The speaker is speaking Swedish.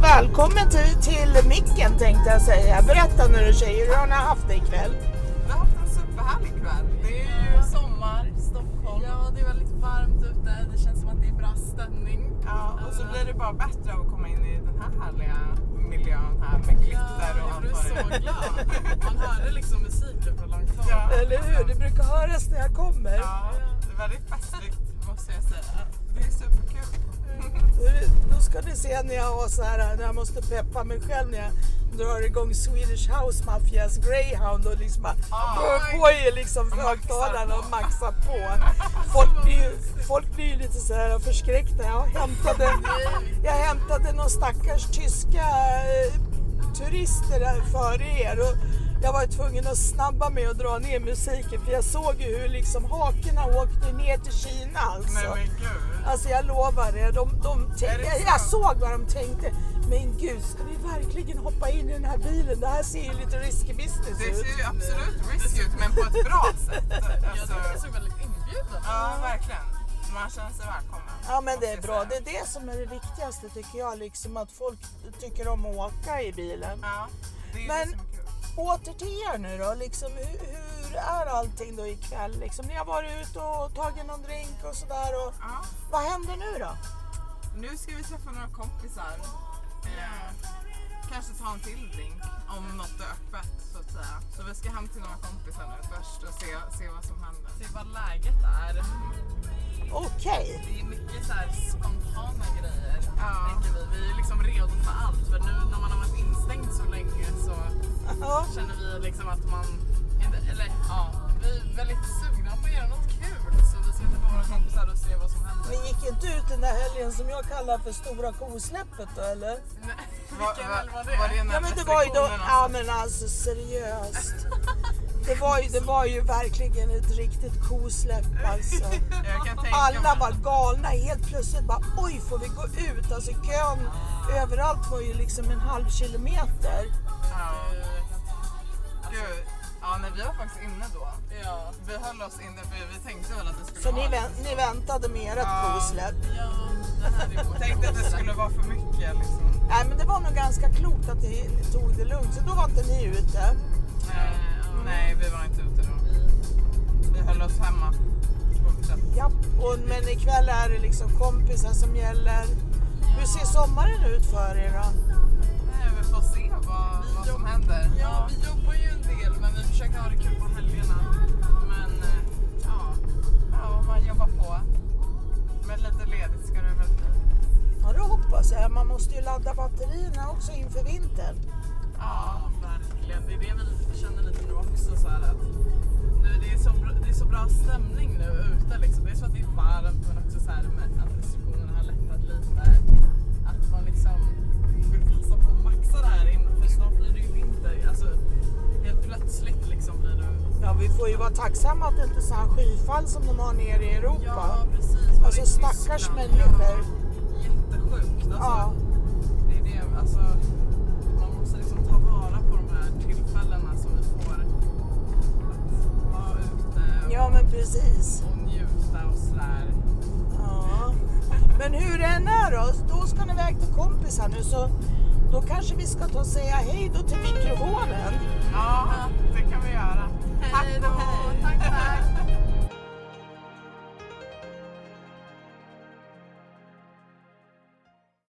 Välkommen till, till micken tänkte jag säga. Berätta nu tjejer, hur har ni haft det ikväll? Vi har haft en superhärlig kväll. Det är ju sommar, Stockholm. Ja, det är väldigt varmt ute. Det känns som att det är bra stämning. Ja, och så blir det bara bättre av att komma in i den här härliga miljön här med glitter och jag allt blev vad så det är. glad. Man hörde liksom musiken från långt håll. Ja. Eller hur, det brukar höras när jag kommer. Ja, det är väldigt festligt måste jag säga. Det är superkul. Då ska ni se när jag har så här, när jag måste peppa mig själv när jag drar igång Swedish House Mafias Greyhound och liksom bara Ah. går på i liksom Och maxar högtalarna och på. maxar på. Folk blir, ju- folk blir ju lite så här förskräckta. Jag hämtade, jag hämtade någon stackars tyska eh, turister här före er och jag var ju tvungen att snabba mig och dra ner musiken för jag såg ju hur liksom hakorna åkte ner till Kina alltså. Nej men gud. Alltså jag lovar er, de, de Är det tänkte, jag, sant? jag såg vad de tänkte. Men gud, ska vi verkligen hoppa in i den här bilen? Det här ser ju lite risky business Det ut. ser ju absolut risky ut men på ett bra sätt. Jag Alltså, tyckte det såg väldigt inbjudande ja, verkligen. Man känner sig välkommen. Ja men det måste är jag bra, det säga. är det som är det viktigaste tycker jag, liksom att folk tycker om att åka i bilen. Ja, det är Men- det som är kul. Åter till er nu då, liksom, hur, hur är allting då ikväll? Liksom, ni har varit ute och tagit någon drink och sådär. Och, Ja. vad händer nu då? Nu ska vi träffa några kompisar. Eh, kanske ta en till drink om något är öppet så att säga. Så vi ska hem till några kompisar nu först och se, se vad som händer. till vad läget är. Okej. Det är mycket så här spontana grejer. Ja. Tänker vi. vi är liksom redo för allt. För nu när man har varit instängd så länge så Ja. känner vi liksom att man... Inte, eller ja, vi är väldigt sugna på att göra något kul. Så vi ska träffa våra kompisar och se vad som händer. Ni gick inte ut den där helgen som jag kallar för stora kosläppet då eller? Nej, Va- Vilken va- helg var Var det det? när Ja men det var ju då, restriktionerna- ja men alltså seriöst. Det var ju, det var ju verkligen ett riktigt kosläpp alltså. Jag kan tänka Alla mig. var galna helt plötsligt bara oj får vi gå ut? Alltså kön överallt var ju liksom en halv kilometer. Ja, gud. Ja, nej, vi var faktiskt inne då. Ja. Vi höll oss inne för vi tänkte väl att det skulle Så ni, vara... vänt, ni väntade med ert Ja. kosläpp. Ja, det här är tänkte att det skulle vara för mycket liksom. Nej men det var nog ganska klokt att ni, ni tog det lugnt så då var inte ni ute. Nej, Mm. nej, vi var inte ute då. Vi höll oss hemma. Fortsatt. Ja, och, men ikväll är det liksom kompisar som gäller. Hur ser sommaren ut för er då? Nej, vi får se vad, vad som händer. Ja, vi jobbar ju en del men vi försöker ha det kul på helgerna. Men eh, ja, Ja, man jobbar på. Men lite ledigt ska det väl bli. Ja, det hoppas jag. Man måste ju ladda batterierna också inför vintern. ja, verkligen. Det är det vi känner lite nu också så här att nu, det, är så bra, det är så bra stämning nu ute liksom. Det är så att det är varmt men också så här med att restriktionerna har lättat lite. Att man liksom vill passa på att maxa det här innan för snart blir det ju vinter. Alltså helt plötsligt liksom blir det Ja, vi får ju vara tacksamma att det inte är sådana skyfall som de har nere i Europa. Ja, precis. Var Alltså, i stackars Tyskland. människor. Ja, Jättesjukt. Alltså, Ja. Det är det, alltså, man måste liksom ta vara på de här tillfällena som vi får att vara ute och, ja, men precis. och njuta och sådär. Ja. Men hur det än är då, då ska ni iväg till kompisar nu så då kanske vi ska ta och säga hej då till mikrofonen. Ja, det kan vi göra. Hej då! Tack, tack!